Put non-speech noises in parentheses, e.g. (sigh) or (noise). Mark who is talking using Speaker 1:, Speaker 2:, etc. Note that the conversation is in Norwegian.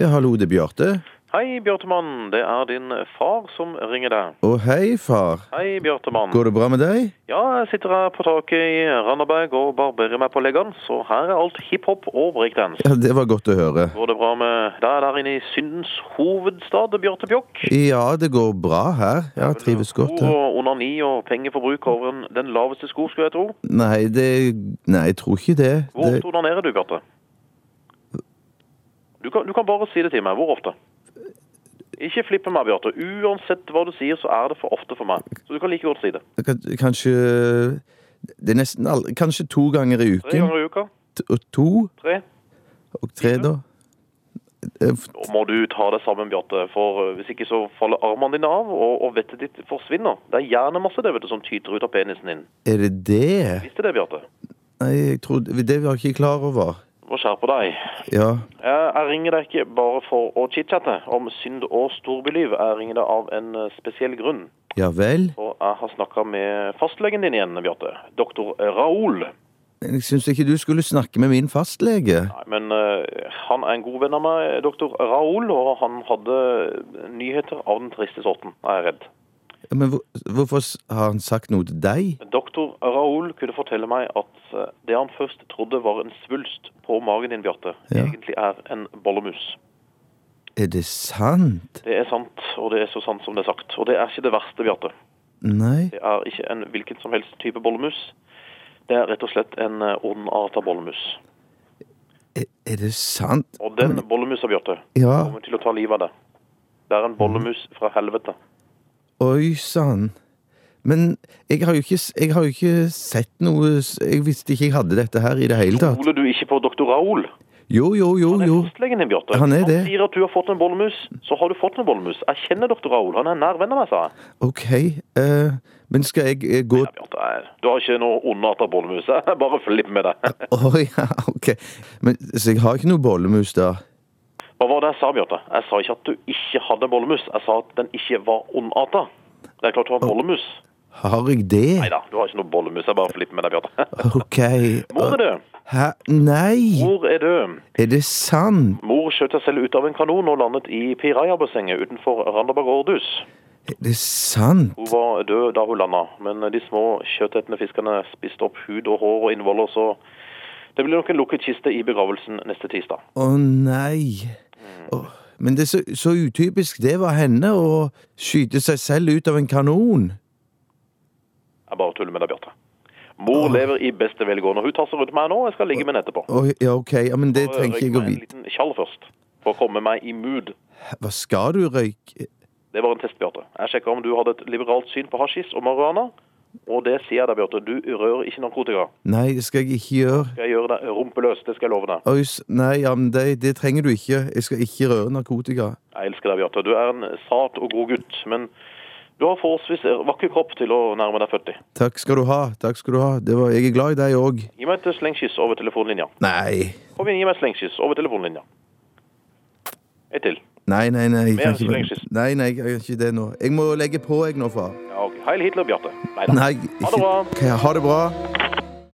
Speaker 1: Ja, hallo, det er Bjarte.
Speaker 2: Hei, Bjørtemann. Det er din far som ringer deg.
Speaker 1: Å, hei, far.
Speaker 2: Hei, Bjørtemann.
Speaker 1: Går det bra med deg?
Speaker 2: Ja, jeg sitter her på taket i Randaberg og barberer meg på leggene, så her er alt hiphop og breakdance.
Speaker 1: Ja, Det var godt å høre.
Speaker 2: Går det bra med deg der inne i syndens hovedstad, Bjarte Bjokk?
Speaker 1: Ja, det går bra her. Ja, jeg trives godt her.
Speaker 2: Og onani og pengeforbruk over en- den laveste sko, skulle jeg tro.
Speaker 1: Nei, det Nei, jeg tror ikke det.
Speaker 2: Hvor
Speaker 1: det
Speaker 2: ofte onanerer du, Bjarte? Du kan, du kan bare si det til meg. Hvor ofte? Ikke flippe meg, Bjarte. Uansett hva du sier, så er det for ofte for meg. Så du kan like godt si det.
Speaker 1: kan- kanskje Det er nesten aldri Kanskje to ganger i
Speaker 2: Tre
Speaker 1: uken.
Speaker 2: ganger i uka.
Speaker 1: T- Og to
Speaker 2: Tre.
Speaker 1: og tre, da. Eh, f-
Speaker 2: Nå må du ta deg sammen, Bjarte, for eh, hvis ikke så faller armene dine av, og, og vettet ditt forsvinner. Det er hjernemasse det, vet du, som tyter ut av penisen din.
Speaker 1: Er det det?
Speaker 2: Visste du det, Bjarte?
Speaker 1: Nei, jeg trodde Det var jeg ikke klar over.
Speaker 2: Du må skjerpe deg.
Speaker 1: Ja.
Speaker 2: Jeg, Eh, jeg ringer deg ikke bare for å chitchatte om synd og storbyliv. Jeg ringer deg av en eh, spesiell grunn.
Speaker 1: Ja vel?
Speaker 2: Og jeg har snakka med fastlegen din igjen, Bjarte. Doktor Raoul.
Speaker 1: Men Jeg syns ikke du skulle snakke med min fastlege.
Speaker 2: Nei, men eh, han er en god venn av meg, doktor Raoul, og han hadde nyheter av den triste sorten, er jeg redd.
Speaker 1: Ja, Men hvor, hvorfor s- har han sagt noe til deg?
Speaker 2: Doktor Raoul kunne fortelle meg at eh, det han først trodde var en svulst på magen din, Bjarte,
Speaker 1: Ja.
Speaker 2: egentlig er en bollemus.
Speaker 1: Er det sant?
Speaker 2: Det er sant, og det er så sant som det er sagt. Og det er ikke det verste, Bjarte.
Speaker 1: Nei.
Speaker 2: Det er ikke en hvilken som helst type bollemus. Det er rett og slett en eh, ondarta bollemus.
Speaker 1: Er, er det sant?
Speaker 2: Og den bollemusa, Bjarte,
Speaker 1: Ja.
Speaker 2: kommer til å ta livet av deg. Det
Speaker 1: Mm.
Speaker 2: er en bollemus fra helvete.
Speaker 1: Oi sann. Men jeg har, jo ikke, s- jeg har jo ikke sett noe s- Jeg visste ikke jeg hadde dette her i det hele tatt.
Speaker 2: Stoler du ikke på doktor Raoul?
Speaker 1: Jo, jo, jo,
Speaker 2: Han er
Speaker 1: jo.
Speaker 2: fastlegen din, Bjarte.
Speaker 1: Han er det.
Speaker 2: sier at du har fått en bollemus, så har du fått en bollemus. Jeg kjenner doktor Raoul. Han er en nær venn av meg, sa jeg.
Speaker 1: OK. eh, men skal jeg eh, gå
Speaker 2: (laughs) Ja, Bjarte, jeg- du har ikke noe ondartet bollemus. (laughs) Jeg bare flipper med deg.
Speaker 1: Å ja, OK. Men, så jeg har ikke noe bollemus, da?
Speaker 2: Hva var det jeg sa, Bjarte? Jeg sa ikke at du ikke hadde bollemus. Jeg sa at den ikke var ondartet. Det er klart du har bollemus.
Speaker 1: Har jeg det?
Speaker 2: Neida, du har ikke noe bollemus. Jeg bare flipper med deg, Bjarte.
Speaker 1: OK.
Speaker 2: Mor er død.
Speaker 1: Hæ? Nei!
Speaker 2: Mor er død.
Speaker 1: Er det sant?
Speaker 2: Mor skjøt seg selv ut av en kanon og landet i Pirayabassenget utenfor Randaberg Årdus.
Speaker 1: Er det sant?
Speaker 2: Hun var død da hun landa, men de små kjøttetende fiskene spiste opp hud og hår og innvoller, så det blir nok en lukket kiste i begravelsen neste tirsdag.
Speaker 1: Å nei. Å, men det er så, så utypisk det var henne å skyte seg selv ut av en kanon.
Speaker 2: Jeg bare tuller med deg, Bjarte. Mor lever i beste velgående. Hun tasser rundt meg nå, jeg skal ligge med henne etterpå.
Speaker 1: Å, ja, ok, ja, men det trenger
Speaker 2: Røyk
Speaker 1: jeg å
Speaker 2: meg en
Speaker 1: vite.
Speaker 2: liten tjall først, for å komme meg i mood.
Speaker 1: Hva skal du røyke?
Speaker 2: Det var en test, Bjarte. Jeg sjekka om du hadde et liberalt syn på hasjis og marihuana, og det sier jeg deg, Bjarte. Du rører ikke narkotika.
Speaker 1: Nei, det skal jeg ikke gjøre.
Speaker 2: Jeg gjør deg rumpeløs, det skal jeg love deg.
Speaker 1: Oi, s- nei, ja, men det, det trenger du ikke. Jeg skal ikke røre narkotika.
Speaker 2: Jeg elsker deg, Bjarte. Du er en sart og god gutt, men du har forholdsvis vakker kropp til å nærme deg 40.
Speaker 1: Takk skal du ha. takk skal du ha. Det var, jeg er glad i deg òg.
Speaker 2: Gi meg et slengkyss over telefonlinja.
Speaker 1: Nei.
Speaker 2: Kom igjen, gi meg et slengkyss over telefonlinja. Et til.
Speaker 1: Nei, nei, nei. Jeg kan
Speaker 2: Mer
Speaker 1: ikke,
Speaker 2: slengkyss.
Speaker 1: nei, nei, jeg kan ikke det nå. Jeg må legge på, jeg nå, far.
Speaker 2: Ja, ok. Heil Hitler, Bjarte. Neida.
Speaker 1: Nei,
Speaker 2: Ha det
Speaker 1: ikke
Speaker 2: bra.
Speaker 1: Ok, Ha det bra.